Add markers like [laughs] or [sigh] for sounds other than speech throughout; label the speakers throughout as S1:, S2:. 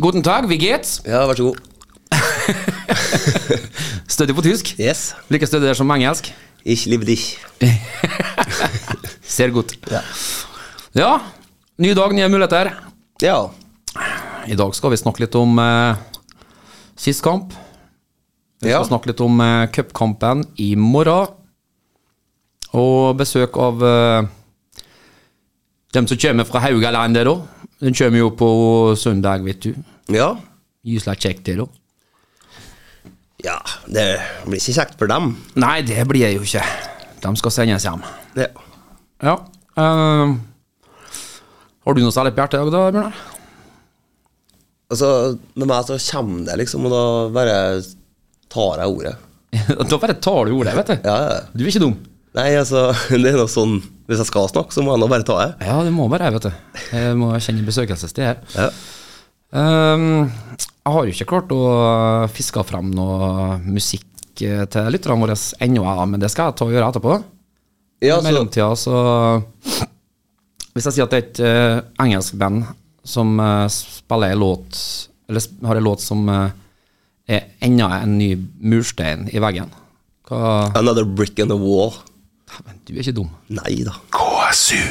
S1: Guten tag, wie geht's?
S2: ja, vær så god.
S1: Stødig på tysk.
S2: Yes.
S1: Like stødig der som engelsk.
S2: Ich liebe dich.
S1: Ser godt.
S2: Ja.
S1: Ja, ny dag, nye muligheter.
S2: Ja.
S1: I dag skal vi snakke litt om eh, sist kamp. Vi skal
S2: Ja.
S1: snakke litt om eh, cupkampen i morgen. Og besøk av eh, dem som kommer fra Haugaland der òg. Den kommer jo på søndag, vet du.
S3: Ja.
S1: Gyselig kjekt det, da.
S3: ja, det blir ikke kjekt for dem.
S1: Nei, det blir jeg jo ikke. De skal sendes hjem.
S3: Ja.
S1: Ja. eh, har du noe særlig på hjertet i dag, da, Bjørnar?
S3: Altså, med meg så kommer det, liksom, og da bare tar jeg ordet.
S1: [laughs] da bare tar du ordet, vet du.
S3: Ja, ja.
S1: Du er ikke dum.
S3: Nei, altså, [laughs] det er noe sånn Hvis jeg skal snakke, så må jeg nå bare ta det.
S1: Ja, det må bare jeg, vet du. Jeg må kjenne besøkelsestid her.
S3: Ja.
S1: Ehm, jeg har jo ikke klart å fiske frem noe musikk eh, til lytterne våre ennå, ja, men det skal jeg ta og gjøre etterpå.
S3: Ja,
S1: I
S3: altså, så,
S1: mellomtida så Hvis jeg sier at det er et eh, engelsk band som eh, spiller en låt Eller sp- har en låt som eh, er enda en ny murstein i veggen Hva
S3: Another brick in the wall.
S1: Dæven, du er ikke dum.
S3: Nei da.
S4: KSU.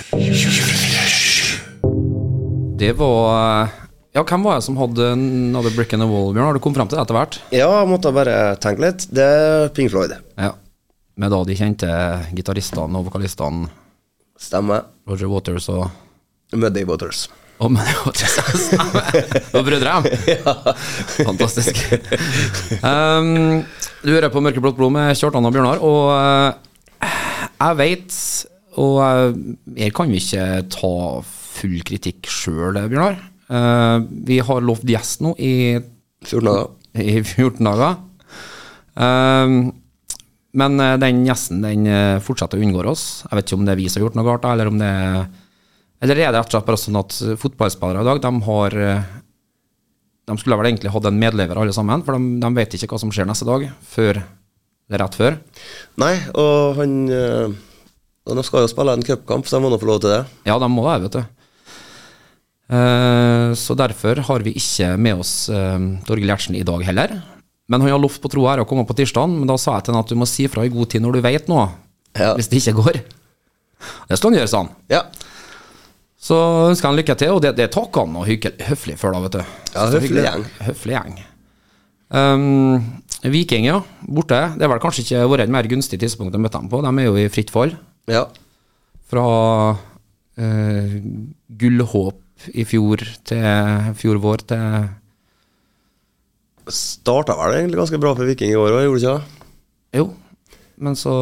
S1: Det var eh, Ja, hvem var det som hadde Another Brick in the Wall, Bjørn? Har du kommet frem til det etter hvert?
S3: Ja, jeg måtte bare tenke litt. Det er Ping Floyd.
S1: Ja. Med da de kjente gitaristene og vokalistene
S3: Stemmer.
S1: Roger Waters og
S3: Muddy Waters.
S1: og men, [laughs] og brødre. Fantastisk. Um, du hører på Mørkeblått blod med Kjartan og Bjørnar, og eh, jeg veit Og eh, her kan vi ikke ta full kritikk sjøl, Bjørnar. Eh, vi har lovd gjest nå i
S3: 14 dager.
S1: i 14 dager. Ehm, men eh, den gjesten den eh, fortsetter å unngå oss. Jeg vet ikke om det er vi som har gjort noe galt, da, eller om det er Eller er det rett og slett bare sånn at eh, fotballspillere i dag, de har eh, De skulle vel egentlig hatt en medlever alle sammen, for de, de vet ikke hva som skjer neste dag, før eller rett før.
S3: Nei, og han øh, og De skal jo spille en cupkamp, så jeg må nå få lov til det.
S1: Ja, de må det, vet du. Eh, så derfor har vi ikke med oss eh, Torgill Gjertsen i dag heller. Men han har lovt på troa her å komme på tirsdag, men da sa jeg til han at du må si fra i god tid når du veit noe,
S3: Ja.
S1: hvis det ikke går. Det skal han gjøre, sa han.
S3: Ja.
S1: Så ønsker han lykke til, og det, det takker han og hyggel- høflig for, da, vet du. Så
S3: Ja,
S1: det er
S3: høflig
S1: hyggelig.
S3: gjeng.
S1: Høflig gjeng. Um, Viking, ja. Borte. Det har vel kanskje ikke vært et mer gunstig tidspunkt å møte dem på. De er jo i fritt fall
S3: ja.
S1: fra eh, gullhåp i fjor til fjor vår til
S3: Starta vel egentlig ganske bra for Viking i år òg, gjorde det ikke det?
S1: Jo, men så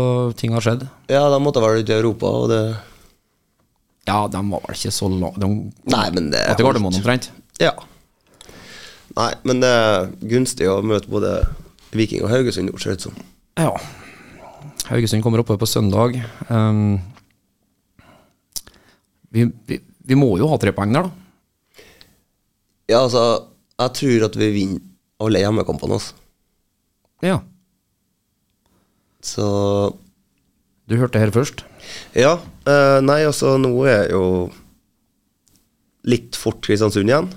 S1: ting har skjedd.
S3: Ja, de måtte vel ut i Europa, og det
S1: Ja, de var vel ikke så langt De
S3: Nei, men det
S1: var til Gardermoen omtrent.
S3: Ja. Nei, men det er gunstig å møte både Viking og Haugesund, gjorde det ut som.
S1: Ja. Haugesund kommer oppover på søndag. Um, vi, vi, vi må jo ha tre poeng der, da.
S3: Ja, altså, jeg tror at vi vinner alle hjemmekampene, altså.
S1: Ja.
S3: Så
S1: Du hørte det her først.
S3: Ja. Eh, nei, altså, nå er jo litt fort Kristiansund igjen.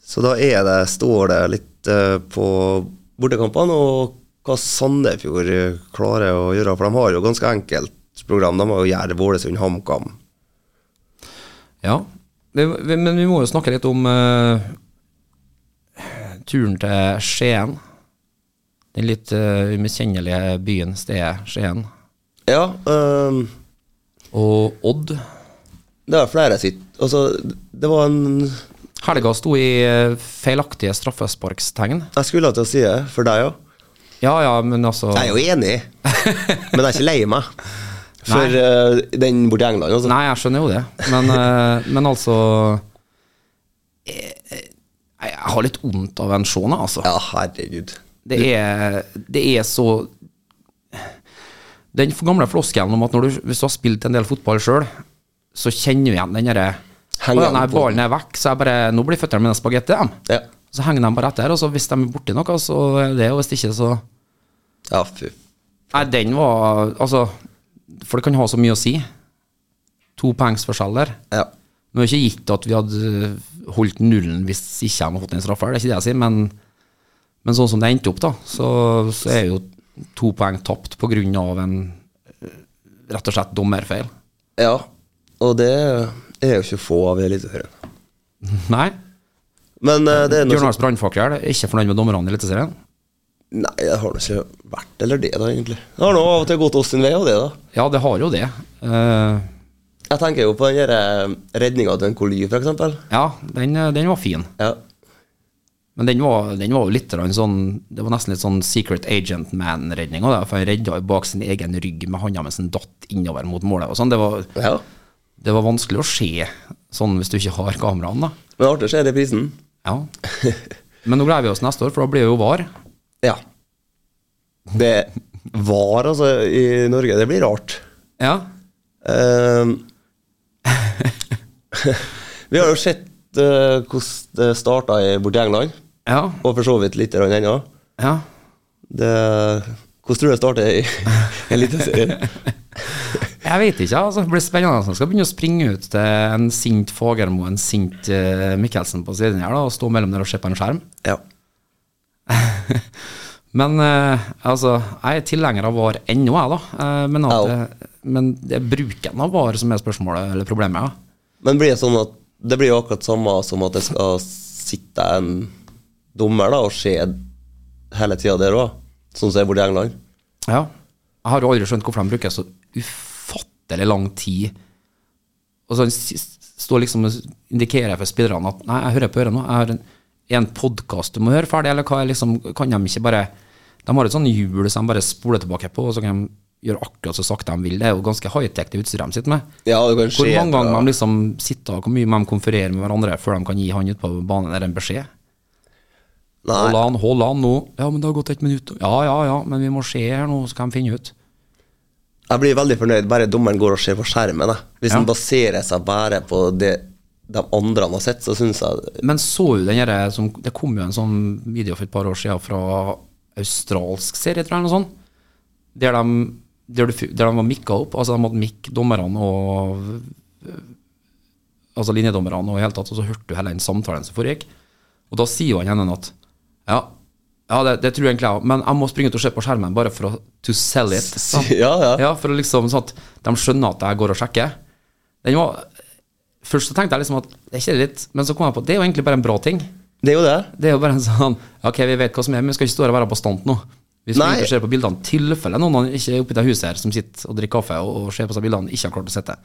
S3: Så da er det, står det litt eh, på bortekampene og hva Sandefjord eh, klarer å gjøre. For de har jo ganske enkelt program. De har jo Jerv, Ålesund, HamKam.
S1: Ja, vi, vi, men vi må jo snakke litt om eh, turen til Skien. Den litt eh, umiskjennelige byen, stedet Skien.
S3: Ja, eh,
S1: Og Odd.
S3: det er flere sitt Altså, det var en
S1: Helga sto i eh, feilaktige straffesparkstegn.
S3: Jeg skulle til å si det, for deg òg.
S1: Ja ja, men altså
S3: Jeg er jo enig, men jeg er ikke lei meg. [laughs] For
S1: Nei.
S3: eh, den borti England, altså.
S1: Nei, jeg skjønner jo det, men, eh, men altså eh, eh, Jeg har litt vondt av en Shauna, altså.
S3: Ja, herregud.
S1: Det, er, det er så Den gamle floskelen om at når du, hvis du har spilt en del fotball sjøl, så kjenner du igjen den derre «Å
S3: Henger
S1: ja, Nei,
S3: den på
S1: ballen er vekk, så jeg bare Nå blir føttene mine spagetti, dem.
S3: Ja.
S1: Så henger de bare etter, og så hvis de er borti noe, så er det, og hvis ikke, så
S3: Ja, fy.
S1: Nei, den var Altså, for det kan ha så mye å si. To poengs forskjell der.
S3: Ja.
S1: Nå er det ikke gitt at vi hadde holdt nullen hvis ikke de hadde fått en straffe, her, det er ikke det jeg sier, men, men sånn som det endte opp, da, så, så er jo to poeng tapt på grunn av en eh, rett og slett dommerfeil.
S3: ja. Og det er jo ikke få av i Eliteserien.
S1: Nei.
S3: Men eh, det er noe som
S1: Bjørnars brannfakkel er ikke fornøyd med dommerne i Eliteserien.
S3: Nei, det har nå ikke vært eller det, da, egentlig. Det har nå av og til gått oss sin vei av det, da.
S1: Ja, det har jo det. Eh,
S3: Jeg tenker jo på den eh, redninga til en Coly, for eksempel.
S1: ja, den, den var fin.
S3: Ja.
S1: Men den var, den var jo litt grann sånn Det var nesten litt sånn Secret Agent Man-redning. og det, For han redda jo bak sin egen rygg med handa mens han datt innover mot målet. og sånn. Det var,
S3: ja.
S1: det var vanskelig å se sånn hvis du ikke har kameraene, da.
S3: Men artig å se reprisen.
S1: Ja. Men nå gleder vi oss neste år, for da blir det jo VAR.
S3: Ja. Det var, altså, i Norge. Det blir rart.
S1: Ja.
S3: Ehm. [laughs] vi har jo sett eh, hvordan det starta borti England,
S1: Ja.
S3: og for så vidt litt grann ennå.
S1: ja.
S3: Det- Hvordan tror du det starter i Eliteserien?
S1: Jeg vet ikke, altså. Det blir spennende. Jeg skal begynne å springe ut til en sint Fagermo og en sint eh, Mikkelsen på siden her da, og stå mellom der og se på en skjerm.
S3: [laughs] ja.
S1: Men eh, altså, jeg er tilhenger av VAR ennå, jeg, da. Eh, men, at, det- men det er bruken av VAR som er spørsmålet, eller problemet, ja.
S3: Men blir det sånn at det blir jo akkurat samme som at det skal sitte en dommer da og se hele tida der òg, sånn som det er borti England?
S1: ja. Jeg har jo aldri skjønt hvorfor de bruker så ufattelig lang tid. Og så s- s- står liksom og indikerer for spillerne at nei, jeg hører på øret nå, jeg har en, en podkast du må høre ferdig, eller hva er liksom Kan de ikke bare De har et sånn hjul som de bare spoler tilbake på, og så kan de gjøre akkurat så sakte de vil. Det er jo ganske high-tech det utstyret de sitter med.
S3: Ja, det kan skje.
S1: Hvor mange ganger
S3: fra-
S1: de liksom sitter og hvor mye de konfererer med hverandre før de kan gi han ute på banen der en beskjed. Hold
S3: Nei,
S1: an, hold an nå. Ja, men det har gått et minutt. Ja, ja, ja, men vi må se her nå, så kan vi finne ut.
S3: jeg blir veldig fornøyd bare dommeren går og ser på skjermen. Jeg. Hvis
S1: Ja.
S3: han baserer seg bare på det de andre han har sett, så syns jeg
S1: Men så jo den derre som Det kom jo en sånn video for et par år siden fra australsk serie, tror jeg, eller noe sånt. Der de, der de, fu- der de var mikka opp. Altså, de hadde mikk, dommerne og øh, Altså linjedommerne og i hele tatt, og så hørte du hele den samtalen som foregikk. Og da sier jo han ene at Ja, ja det, det tror jeg egentlig jeg òg, men jeg må springe ut og se på skjermen bare for å to sell it. sa han.
S3: [laughs] Ja, ja.
S1: ja, For å liksom sånn at de skjønner at jeg går og sjekker. Den var Først så tenkte jeg liksom at det er ikke litt Men så kom jeg på at det er jo egentlig bare en bra ting.
S3: Det er jo det.
S1: Det er jo bare en sånn Ok, vi vet hva som er, men vi skal ikke stå her og være bastant nå. Vi skal
S3: Nei.
S1: ikke se på bildene tilfelle noen ikke er oppi det huset her som sitter og drikker kaffe og, og ser på seg bildene, ikke har klart å sitte.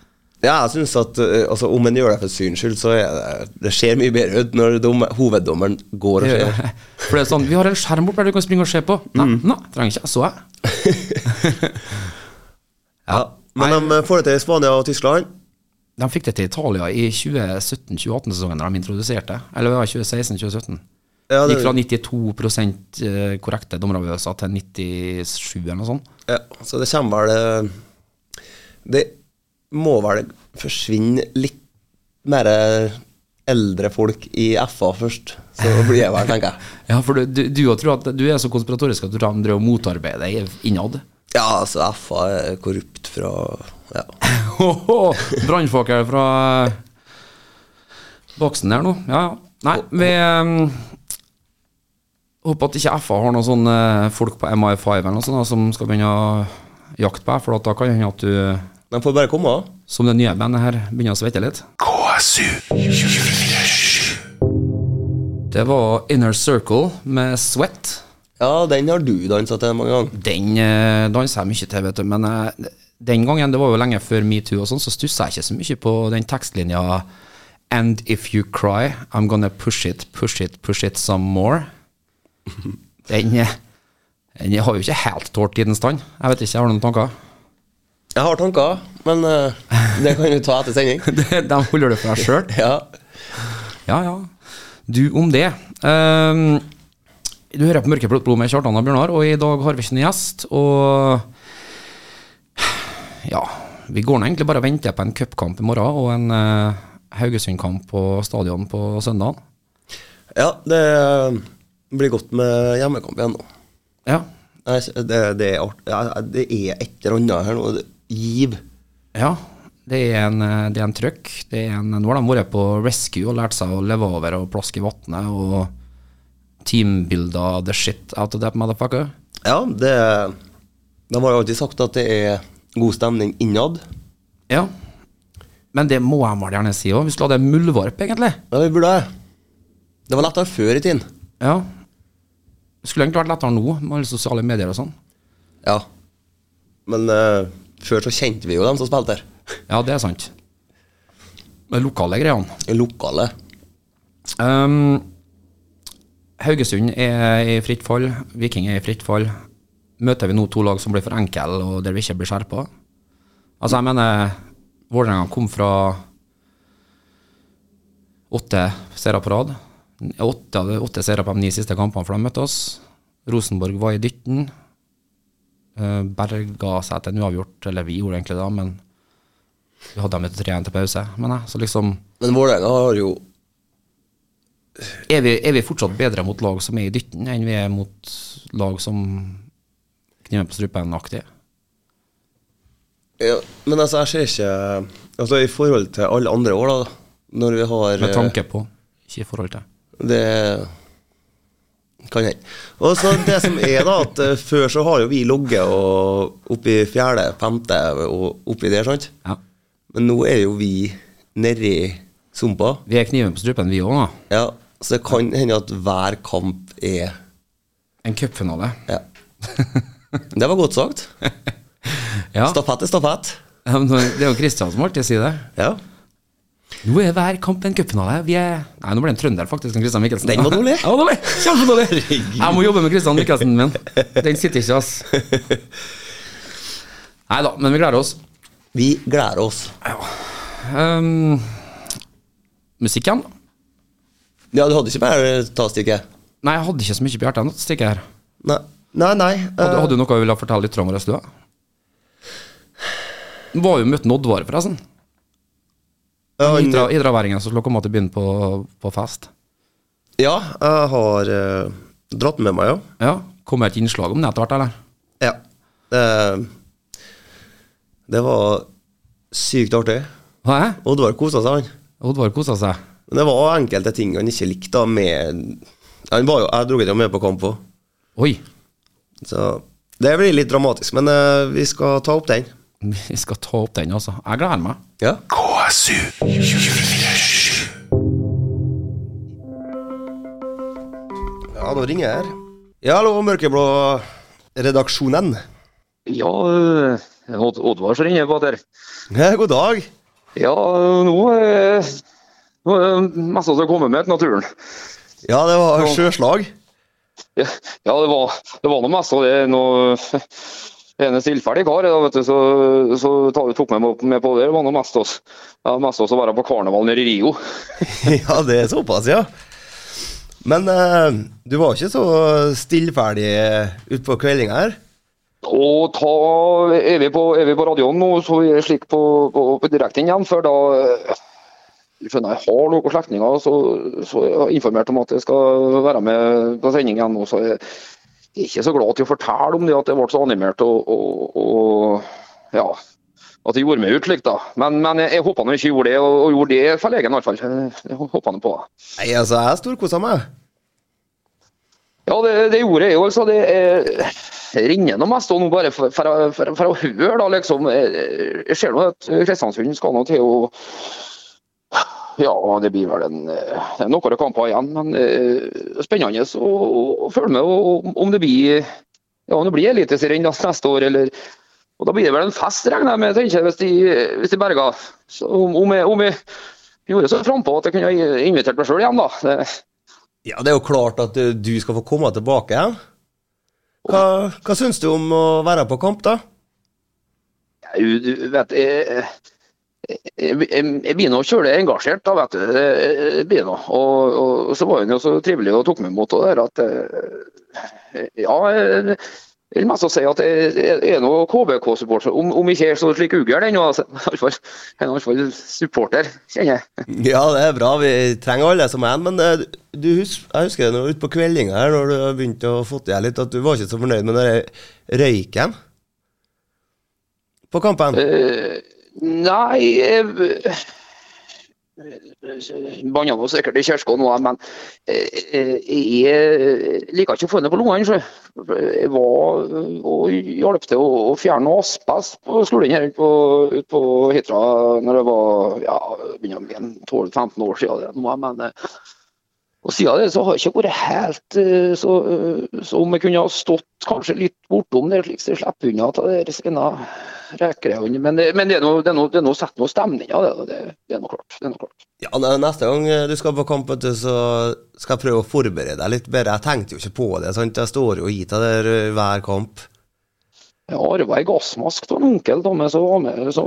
S3: Ja, jeg synes at eh, altså, Om en gjør det for syns skyld, så er det, det ser mye bedre ut når dom- hoveddommeren går og
S1: Det
S3: ser.
S1: gjør jeg. [laughs] For det er sånn Vi har en skjerm opp der du kan springe og se på. Nei,
S3: Mm.
S1: nei trenger ikke. Så jeg.
S3: [laughs] Ja. Men de eh, får det til i Spania og Tyskland.
S1: De fikk det til Italia i 2017-2018-sesongen da de introduserte. Eller det var 2016-2017.
S3: Ja, det-
S1: Gikk fra 92 eh, korrekte dommeravgjørelser til 97 eller noe sånt.
S3: Ja, så det kommer vel eh, Det må vel forsvinne litt mer eh, eldre folk i FA først, så blir det vel, tenker jeg.
S1: Ja, for du, du, du tror at du er så konspiratorisk at du tror de drev og motarbeider deg [laughs] innad.
S3: Ja, altså, FA er korrupt fra Ja.
S1: Hoho, Brannfakkel fra eh, boksen der nå. Ja, ja. Nei, vi ehm, håper at ikke FA har noen sånne folk på MI5 eller noe sånt da, som skal begynne å jakte på deg, for at da kan det hende at du,
S3: De får bare komme. da.
S1: som det nye bandet her, begynner å svette litt.
S4: KSU 247.
S1: Det var Inner Circle med Sweat.
S3: Ja, den har du dansa til mange ganger.
S1: Den eh, danser jeg mye til, vet du. Men eh, den gangen, det var jo lenge før metoo og sånn, så stussa jeg ikke så mye på den tekstlinja And if you cry, I'm gonna push it, push it, push it some more. Den, eh, den har jo ikke helt tålt tidens tann. Jeg vet ikke, jeg har du noen tanker?
S3: Jeg har tanker, men
S1: [laughs]
S3: eh, det kan vi ta etter sending.
S1: De holder det for deg sjøl?
S3: Ja.
S1: Ja, ja. Du om det. Ehm, du hører på Mørkeblått blod med Kjartan og Bjørnar, og i dag har vi ikke noen gjest. Og ja, vi går nå egentlig bare og venter på en cupkamp i morgen og en eh, Haugesund-kamp på stadion på søndag.
S3: Ja, det eh, blir godt med hjemmekamp igjen nå.
S1: Ja.
S3: Nei, Det, det, er, art- ja, det er et eller annet her nå. Det- Giv.
S1: ja. Det er en, eh, det er en trøkk. Det er en, nå har de vært på rescue og lært seg å leve over og plaske i vannet og teambilder the shit out of that motherfucker.
S3: Ja, det De har jo alltid sagt at det er god stemning innad.
S1: Ja. Men det må jeg vel gjerne si òg. Vi skulle hatt en muldvarp, egentlig.
S3: Ja, vi burde det. Det var lettere før i tiden.
S1: Ja. Det skulle egentlig vært lettere nå, med alle sosiale medier og sånn.
S3: Ja. Men eh, før så kjente vi jo dem som spilte her.
S1: Ja, det er sant. De lokale greiene.
S3: I lokalet.
S1: Ehm, Haugesund er i fritt fall. Viking er i fritt fall. Møter vi nå to lag som blir for enkle, og der vi ikke blir skjerpa? Altså, jeg mener Vålerenga kom fra åtte seire på rad. Åtte, åtte seire på de ni siste kampene for de møtte oss. Rosenborg var i dytten. Eh, Berga seg til en uavgjort, eller vi gjorde egentlig det, men vi hadde dem et 3-1 til pause, mener jeg. Så liksom
S3: Men Vålerenga har jo
S1: er vi, er vi fortsatt bedre mot lag som er i dytten, enn vi er mot lag som kniver på strupen-aktige?
S3: ja, Men altså, jeg ser ikke Altså, i forhold til alle andre år, da, når vi har
S1: Med
S3: eh,
S1: tanke på, ikke i forhold til.
S3: Det kan hende. Og så det som er, da, at eh, før så har jo vi ligget og- oppe i fjerde, femte og oppi der, sant?
S1: Ja.
S3: Men nå er jo vi nedi sumpa.
S1: Vi er kniven på strupen, vi òg, da.
S3: Ja, så det kan hende at hver kamp er
S1: En cupfinale.
S3: Ja. Det var godt sagt.
S1: [laughs] Ja. [laughs]
S3: Stafett er stafett.
S1: men Det er jo Kristian som alltid sier det.
S3: Ja.
S1: Nå er hver kamp en cupfinale. Vi er Nei, nå ble det en trønder, faktisk. En Christian Michelsen.
S3: Den var dårlig.
S1: Ja, dårlig. Kjempedårlig. Jeg må jobbe med Christian Michelsen min. Den sitter ikke, [laughs] ass. Nei da, men vi gleder oss.
S3: Vi gleder oss.
S1: Um, musikken?
S3: Ja, du hadde ikke mer eh, tastikket?
S1: Nei, jeg hadde ikke så mye på hjertet. Nå stikker jeg her.
S3: Nei, nei. nei.
S1: Hadde,
S3: eh,
S1: hadde du noe du ville fortelle litt om i stua? Var jo møtt Oddvar, forresten.
S3: han-
S1: Idra- Idraværingen som skulle komme til byen på, på fest.
S3: ja, jeg har eh, dratt den med meg, ja.
S1: Ja, Kom det et innslag om det etter hvert, eller?
S3: Ja. Det, det var sykt artig.
S1: Hæ?
S3: Oddvar kosa seg, han.
S1: Oddvar kosa seg.
S3: Men det var enkelte ting han ikke likte da, med han var jo, Jeg dro ham med på kamp òg,
S1: Oi,
S3: så det blir litt dramatisk. Men eh, vi skal ta opp den.
S1: vi skal ta opp den, altså. Jeg gleder meg.
S3: Ja.
S4: KSU 247.
S3: ja, da ringer jeg her. Ja, hallo, Mørkeblå-redaksjonen.
S5: Ja, øh, Odd- Oddvar som ringer på der.
S3: Ja, Eh, god dag.
S5: Ja, øh, nå øh, Nå er det mest av det kommer med til naturen.
S3: Ja, det var sjøslag.
S5: Ja, ja det, var, det var noe mest av det. Noe, en stillferdig kar da, vet du, så, så ta, tok meg med- med på det. Det var noe mest av oss. Ja, mest av oss å være på karneval nede i Rio.
S3: [laughs] Ja, det er såpass, ja. Men eh, du var ikke så stillferdig utpå kveldinga her?
S5: Og ta, er, vi på, er vi på radioen nå, så vi er slik på, på, på direkten igjen, for da øh, du skjønner jeg har noen slektninger, så, så jeg har informert om at jeg skal være med på sending igjen nå. Så jeg er ikke så glad til å fortelle om det at jeg ble så animert og, og, og ja. At jeg gjorde meg ut slik, da. Men, men jeg, jeg håper nå ikke gjorde det, og, og gjorde det forlegen i hvert fall. Jeg- Jeg håper nå på det.
S3: Nei, altså, jeg storkosa meg.
S5: Ja, det, det gjorde jeg jo. altså. Det eh, ringer nå mest og nå bare for, for, for, for å høre, da, liksom. Eh, Jeg ser nå at Kristiansund skal nå til å Ja, det blir vel en, eh, det er noen kamper igjen, men eh, spennende å, å følge med og, om det blir ja, om det blir Eliteserien da neste år, eller og Da blir det vel en fest, regner jeg med, tenker jeg, hvis de, hvis de berger. Så om, om, jeg, om jeg gjorde så frampå at jeg kunne ha invitert meg sjøl igjen, da. Det,
S3: Ja, det er jo klart at eh, du skal få komme tilbake. ja. Hva, hva syns du om å være på kamp, da?
S5: Jeg, vet, jeg, jeg jeg begynner å kjøre engasjert, da, vet du. Jeg begynner. Og, og så var hun jo så trivelig og tok meg imot og det der at eh, Ja, jeg jeg vil mest si at jeg jeg er nå KBK-supporter. Om, om ikke jeg er så slik ugel ennå, altså. I hvert fall- jeg er nå i hvert fall supporter, kjenner jeg.
S3: [laughs] Ja, det er bra. Vi trenger alle som en. Men eh, du husker, jeg husker det når, ute på kveldinga her, når du har begynt å få til deg litt, at du var ikke så fornøyd med den der røyken på kampen.
S5: Eh, nei jeg Banna nå sikkert i kirka nå, men eh, eh, jeg eh, liker ikke å få henne på lungene. så Jeg var eh, og hjalp til å å fjerne asbest på skolen her ute på, ut på Hitra når det var ja, begynner å bli en 12-15 år siden. Det, nå, men, eh, og siden det så har jeg ikke vært helt eh, så, eh, så om jeg kunne ha stått kanskje litt bortom der, slik så jeg slipper unna ta det der skinna rekegreiene. Men, det- men det er nå- det er nå- det er nå setter noe stemning av det, og det, det er nå klart. Det er nå klart.
S3: Ja, ne- Neste gang eh, du skal på kamp, vet du, så skal jeg prøve å forberede deg litt bedre. Jeg tenkte jo ikke på det. sant? Jeg står jo og gir deg der eh, hver kamp.
S5: Jeg arva ei gassmask av en onkel da, men så var med, så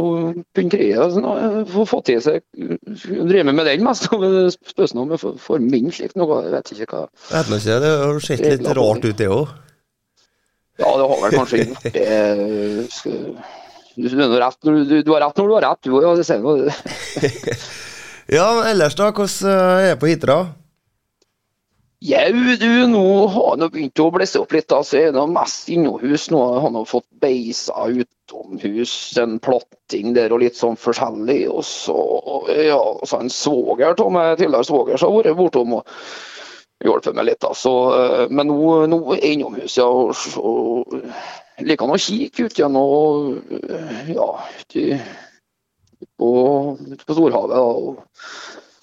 S5: kunne kreie eh, få fått i seg eh, Drive med den mest. [laughs] Spørs nå om jeg får- får min slikt noe, jeg vet ikke hva.
S3: Jeg vet nå ikke, Det har sett litt rart ut, det òg.
S5: Ja, det har vel kanskje gjort det. skal- Du, du, har rett, når du, du har rett når du har rett, du òg. Ja, det sier noe.
S3: Ja, men ellers, da? Hvordan eh, er det på Hitra?
S5: Jau, du, nå har nå begynt å blesse opp litt. da, så er det nå mest innohus. Nå har nå fått beisa utomhus, en platting der og litt sånn forskjellig. Og så ja, så en svoger av meg, tidligere svoger, som har vært bortom og hjulpet meg litt. da, så, eh, Men nå, nå er innomhus, ja. Og, s- og liker nå å kikke ut igjen og eh, ja, ut i, på, ut på storhavet. da, og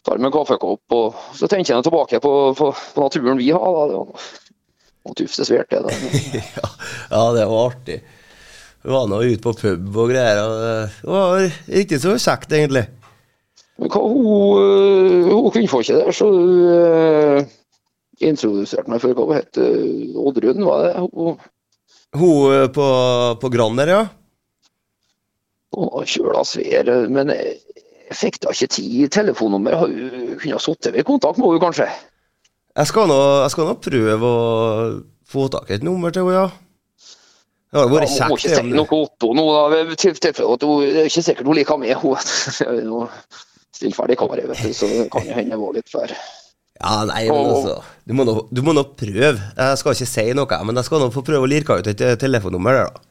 S5: tar med en kaffekopp, og så tenker jeg tilbake på, på, på naturen vi har. da. Det var- Og tufte svært, det. da.
S3: [laughs] Ja, ja, det var artig. Vi var nå ute på pub og greier. Og eh, det- det var riktig så kjekt, egentlig.
S5: Men hva, hun, øh, hun kvinnfolket der, så hun øh, introduserte meg for hva hun het, øh, Oddrun, var det? Hun,
S3: Hun eh, på, på Grand der, ja.
S5: hun var kjøla svær, men jeg jeg fikk da ikke tid. Telefonnummer har hun kunne ha sittet ved kontakt med henne, kanskje.
S3: Jeg skal nå, jeg skal nå prøve å få tak i et nummer til henne, ja. Det har jo vært
S5: Ja, hun må
S3: kjekt.
S5: ikke si
S3: det,
S5: noe
S3: men-
S5: Otto nå, da. ved til- tilfelle at hun, det er ikke sikkert hun liker meg. Hun [laughs] er jo stillferdig kar, jeg vet du, så det kan jo hende det var litt for
S3: Ja, nei, men altså Du må nå, du må nå prøve. Jeg skal ikke si noe, men jeg skal nå få prøve å lirke ut et eh, telefonnummer der, da.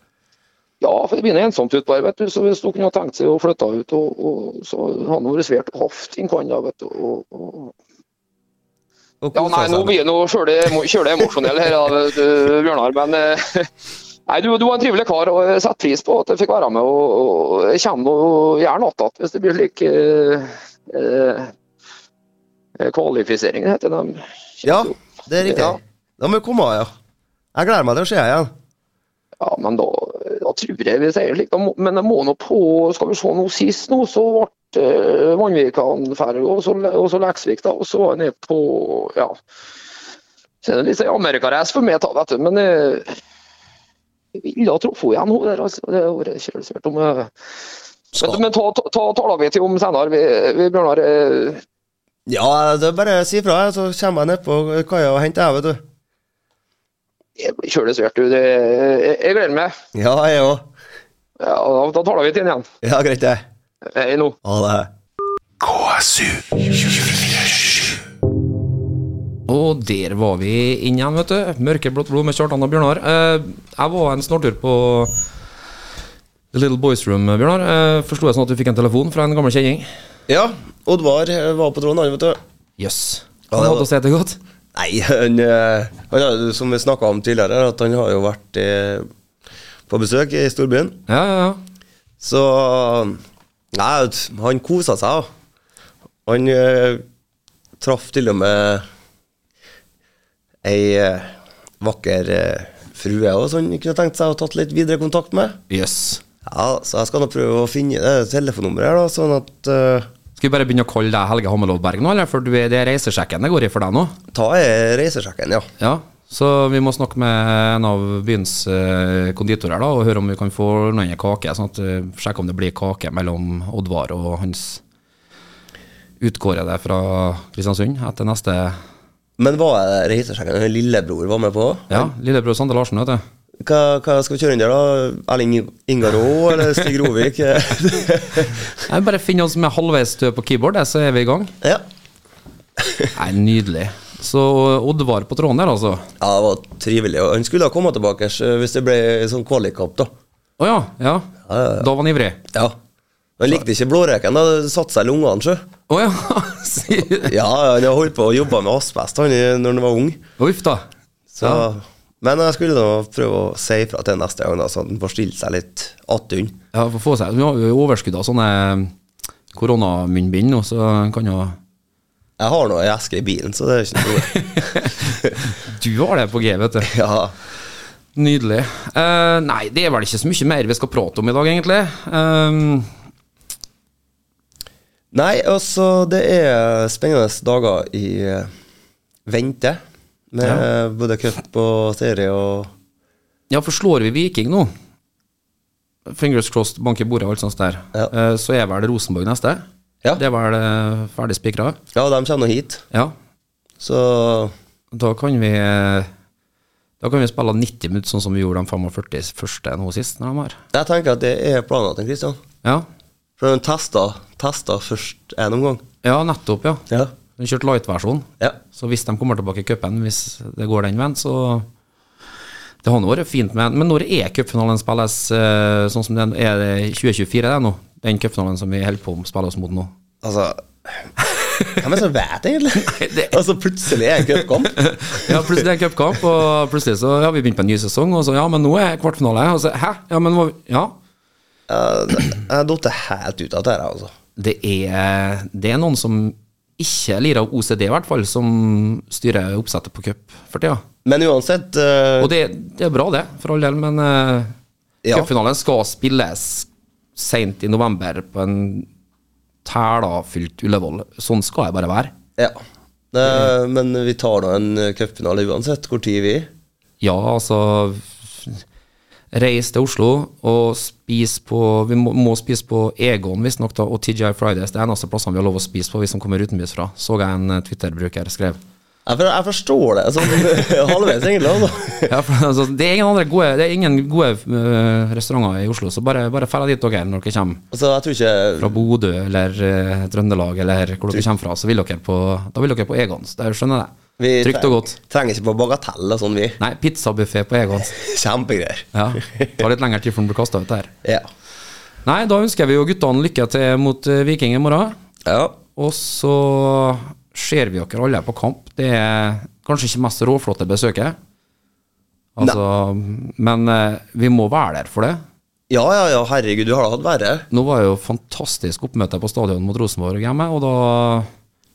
S5: Ja, for det begynner ensomt ut bare, vet du. Så hvis hun kunne ha tenkt seg å flytte ut, og, og, så hadde hun vært svært haft en kan da, vet du. Og, og...
S3: Og
S5: Ja,
S3: kosa
S5: nei, nå
S3: seg.
S5: blir jeg nå kjølig kjølig emosjonell her, da, vet du, Bjørnar. Men eh, [laughs] nei, du, du var en trivelig kar, og jeg setter pris på at jeg fikk være med. Og, og jeg kommer nå gjerne igjen hvis det blir slik eh, eh, kvalifisering, det heter det.
S3: Ja, det er
S5: Ja.
S3: riktig. Da må vi komme av, ja. Jeg gleder meg til å se deg igjen.
S5: Ja, men da, da tror jeg vi sier slik. Da må, men jeg må nå på Skal vi se nå sist, nå, så ble eh, Vanvikan ferdig, og så, og så Leksvik, da. Og så var jeg nede på Ja. Så er det litt sånn amerikareis for meg, da, vet du. Men eh, jeg ville ha truffet henne igjen, hun der, altså. Det hadde vært kjølig svært om eh, Men, men ta, ta, ta taler vi til om senere, vi, vi Bjørnar. eh,
S3: Ja, det er bare å si fra, så kommer jeg nedpå kaia og henter deg, vet du.
S5: Jeg blir kjølig svært, du. Det, jeg, jeg gleder meg.
S3: Ja, jeg òg.
S5: Ja, da, da taler vi til henne igjen.
S3: Ja, greit det.
S5: Hei nå.
S3: Ha det.
S4: KSU 247.
S1: Og der var vi inn igjen, vet du. Mørkeblått blod med Kjartan og Bjørnar. Eh, jeg var en snortur på The Little Boys Room, Bjørnar. Eh, Forsto jeg sånn at du fikk en telefon fra en gammel kjenning?
S3: Ja, Oddvar eh, var på tråden, han, vet du.
S1: Jøss. Yes.
S3: Ja,
S1: Han
S3: det
S1: hadde
S3: var-
S1: å se til godt.
S3: Nei, han, eh, han har jo, som vi snakka om tidligere, at han har jo vært eh, på besøk i storbyen.
S1: Ja, ja, ja.
S3: Så Nei, vet du, han kosa seg. da. Han eh, traff til og med ei eh, vakker eh, frue òg, som han kunne tenkt seg å tatt litt videre kontakt med.
S1: Jøss.
S3: Ja, så jeg skal nå prøve å finne det telefonnummeret her, da, sånn at eh,
S1: Skal vi bare begynne å kalle deg Helge Hammelovberg nå, eller? For du er, det er reisesjekken det går i for deg nå?
S3: Ta eh, reisesjekken, ja.
S1: Ja. Så vi må snakke med en av byens eh, konditorer da, og høre om vi kan få noen kake. Sånn at eh, Sjekke om det blir kake mellom Oddvar og hans utkårede fra Kristiansund etter neste
S3: Men var jeg der i hyttesjekken? Lillebror var med på?
S1: Ja, lillebror Sander Larsen, vet du.
S3: Hva, hva skal vi kjøre under, da? Erling Ingar Aa eller Stig Rovik? [laughs]
S1: Jeg bare finn oss med halvveis stø på keyboard, det, så er vi i gang.
S3: ja.
S1: Nei, Nydelig. Så Oddvar på tråden der, altså.
S3: ja, det var trivelig. Og han skulle ha kommet tilbake eh, hvis det ble sånn kvalikkamp, da.
S1: Å ja, ja. Da var han ivrig.
S3: Ja. Han likte ikke blåreken, da. Det satte seg i lungene, sjø.
S1: Å ja! [laughs] sier-
S3: Ja, han har holdt på å jobbe med asbest han i- når han var ung.
S1: Uff da.
S3: Så, Men jeg skulle nå prøve å si ifra til neste gang, da, så han får stille seg litt attund.
S1: Ja, for å få seg Vi har jo overskudd av sånne eh, koronamunnbind nå, så en kan jo
S3: Jeg har noe i eske i bilen, så det er ikke noe
S1: [laughs]
S3: problem.
S1: Du har det på G, vet du.
S3: ja.
S1: Nydelig. Eh, nei, det er vel ikke så mye mer vi skal prate om i dag, egentlig. Ehm,
S3: Nei, altså, det er spennende dager i eh, vente. Med eh, både cup og serie og
S1: ja, for slår vi Viking nå, fingers crossed, bank i bordet og alt sånt der,
S3: Ja.
S1: eh, så er vel Rosenborg neste.
S3: Ja.
S1: Det er vel uh, ferdig spikra.
S3: Ja, de kommer nå hit,
S1: Ja.
S3: så
S1: Da kan vi eh, Da kan vi spille 90 minutter, sånn som vi gjorde de 45 første nå sist. Når de har.
S3: jeg tenker at det er planen til Kristian.
S1: Ja.
S3: For de testa, testa først én omgang.
S1: ja, nettopp, ja.
S3: Ja.
S1: De kjørte light-versjonen.
S3: ja.
S1: Så hvis de kommer tilbake i cupen, hvis det går den veien, så Det har nå vært fint, men, men når er cupfinalen spilles eh, sånn som den er det 2024 det er nå? Den cupfinalen som vi holder på å spille oss mot nå?
S3: Altså Hvem er det som
S1: [laughs]
S3: vet, egentlig?
S1: det-
S3: Altså, plutselig er en cupkamp.
S1: Ja, plutselig er det cupkamp, og plutselig så har vi begynt på en ny sesong, og så ja, men nå er kvartfinale. Og så hæ? Ja, men må vi Ja.
S3: Jeg datt helt ut av det her, altså.
S1: Det er, det er noen som ikke lirer av OCD, i hvert fall, som styrer oppsettet på cup for tida.
S3: Men uansett eh,
S1: Og det, det er bra, det, for all del, men uh,
S3: Ja.
S1: cupfinalen skal spilles seint i november på en tælafylt Ullevål. Sånn skal jeg bare være.
S3: Ja. Det, men vi tar nå en eh, cupfinale uansett hvor tid vi er.
S1: Ja, altså Reis til Oslo og spis på Vi må, må spise på Egon, visstnok, da, og TGI Fridays. Det er eneste plassene vi har lov å spise på, vi som kommer utenbys fra. Så jeg en eh, Twitter-bruker skrev.
S3: Jeg, for, jeg forstår det sånn [laughs] halvveis, egentlig. Altså.
S1: Ja, for, altså, det er ingen andre gode, det er ingen gode eh, restauranter i Oslo, så bare, bare fær dit dere når dere kommer.
S3: altså, jeg tror ikke
S1: fra Bodø eller eh, Trøndelag eller hvor dere kommer fra, så vil dere på, da vil dere på Egons. Det skjønner
S3: vi
S1: jeg. Trygt og godt.
S3: trenger ikke på bagatell og sånn, vi. [laughs]
S1: Nei, pizzabuffé på Egons.
S3: Kjempegreier.
S1: Ja, Tar litt lengre tid før den blir kasta ut der.
S3: Ja.
S1: Nei, da ønsker vi jo guttene lykke til mot eh, Viking i morgen.
S3: ja.
S1: Og så ser vi dere alle på kamp. Det er kanskje ikke mest råflotte besøket. Altså, men eh, vi må være der for det.
S3: Ja, ja, ja, herregud, du har det hatt verre.
S1: Nå var jo fantastisk oppmøte på stadion mot Rosenborg hjemme, og da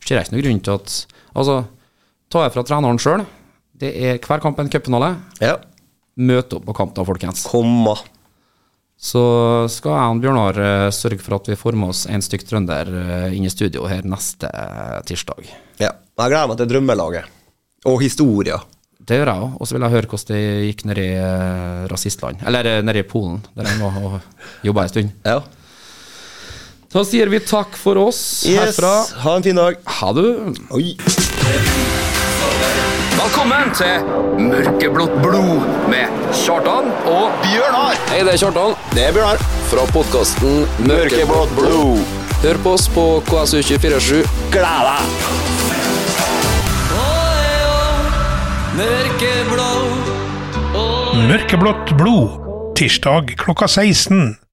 S1: ser jeg ikke noen grunn til at Altså, ta jeg fra treneren sjøl. Det er hver kamp en cupfinale.
S3: Ja.
S1: Møt opp på kamp da, folkens.
S3: Komma.
S1: Så skal jeg og Bjørnar eh, sørge for at vi får med oss en stykk trønder eh, inn i studio her neste eh, tirsdag.
S3: Ja. Jeg gleder meg til drømmelaget. Og historia.
S1: Det gjør jeg òg. Og så vil jeg høre hvordan det gikk nede i eh, rasistland. Eller eh, nede i Polen, der jeg var og jobba ei stund.
S3: Ja.
S1: Da sier vi takk for oss
S3: Yes.
S1: herfra.
S3: Ha en fin dag.
S1: Ha det.
S3: Oi.
S1: Velkommen til Mørkeblått blod med Kjartan og
S2: Hei, det er Kjartan. Det er Bjørnar. Fra podkasten Mørkeblått blod. Hør på oss på KSU247.
S4: Mørkeblått blod. Tirsdag klokka 16.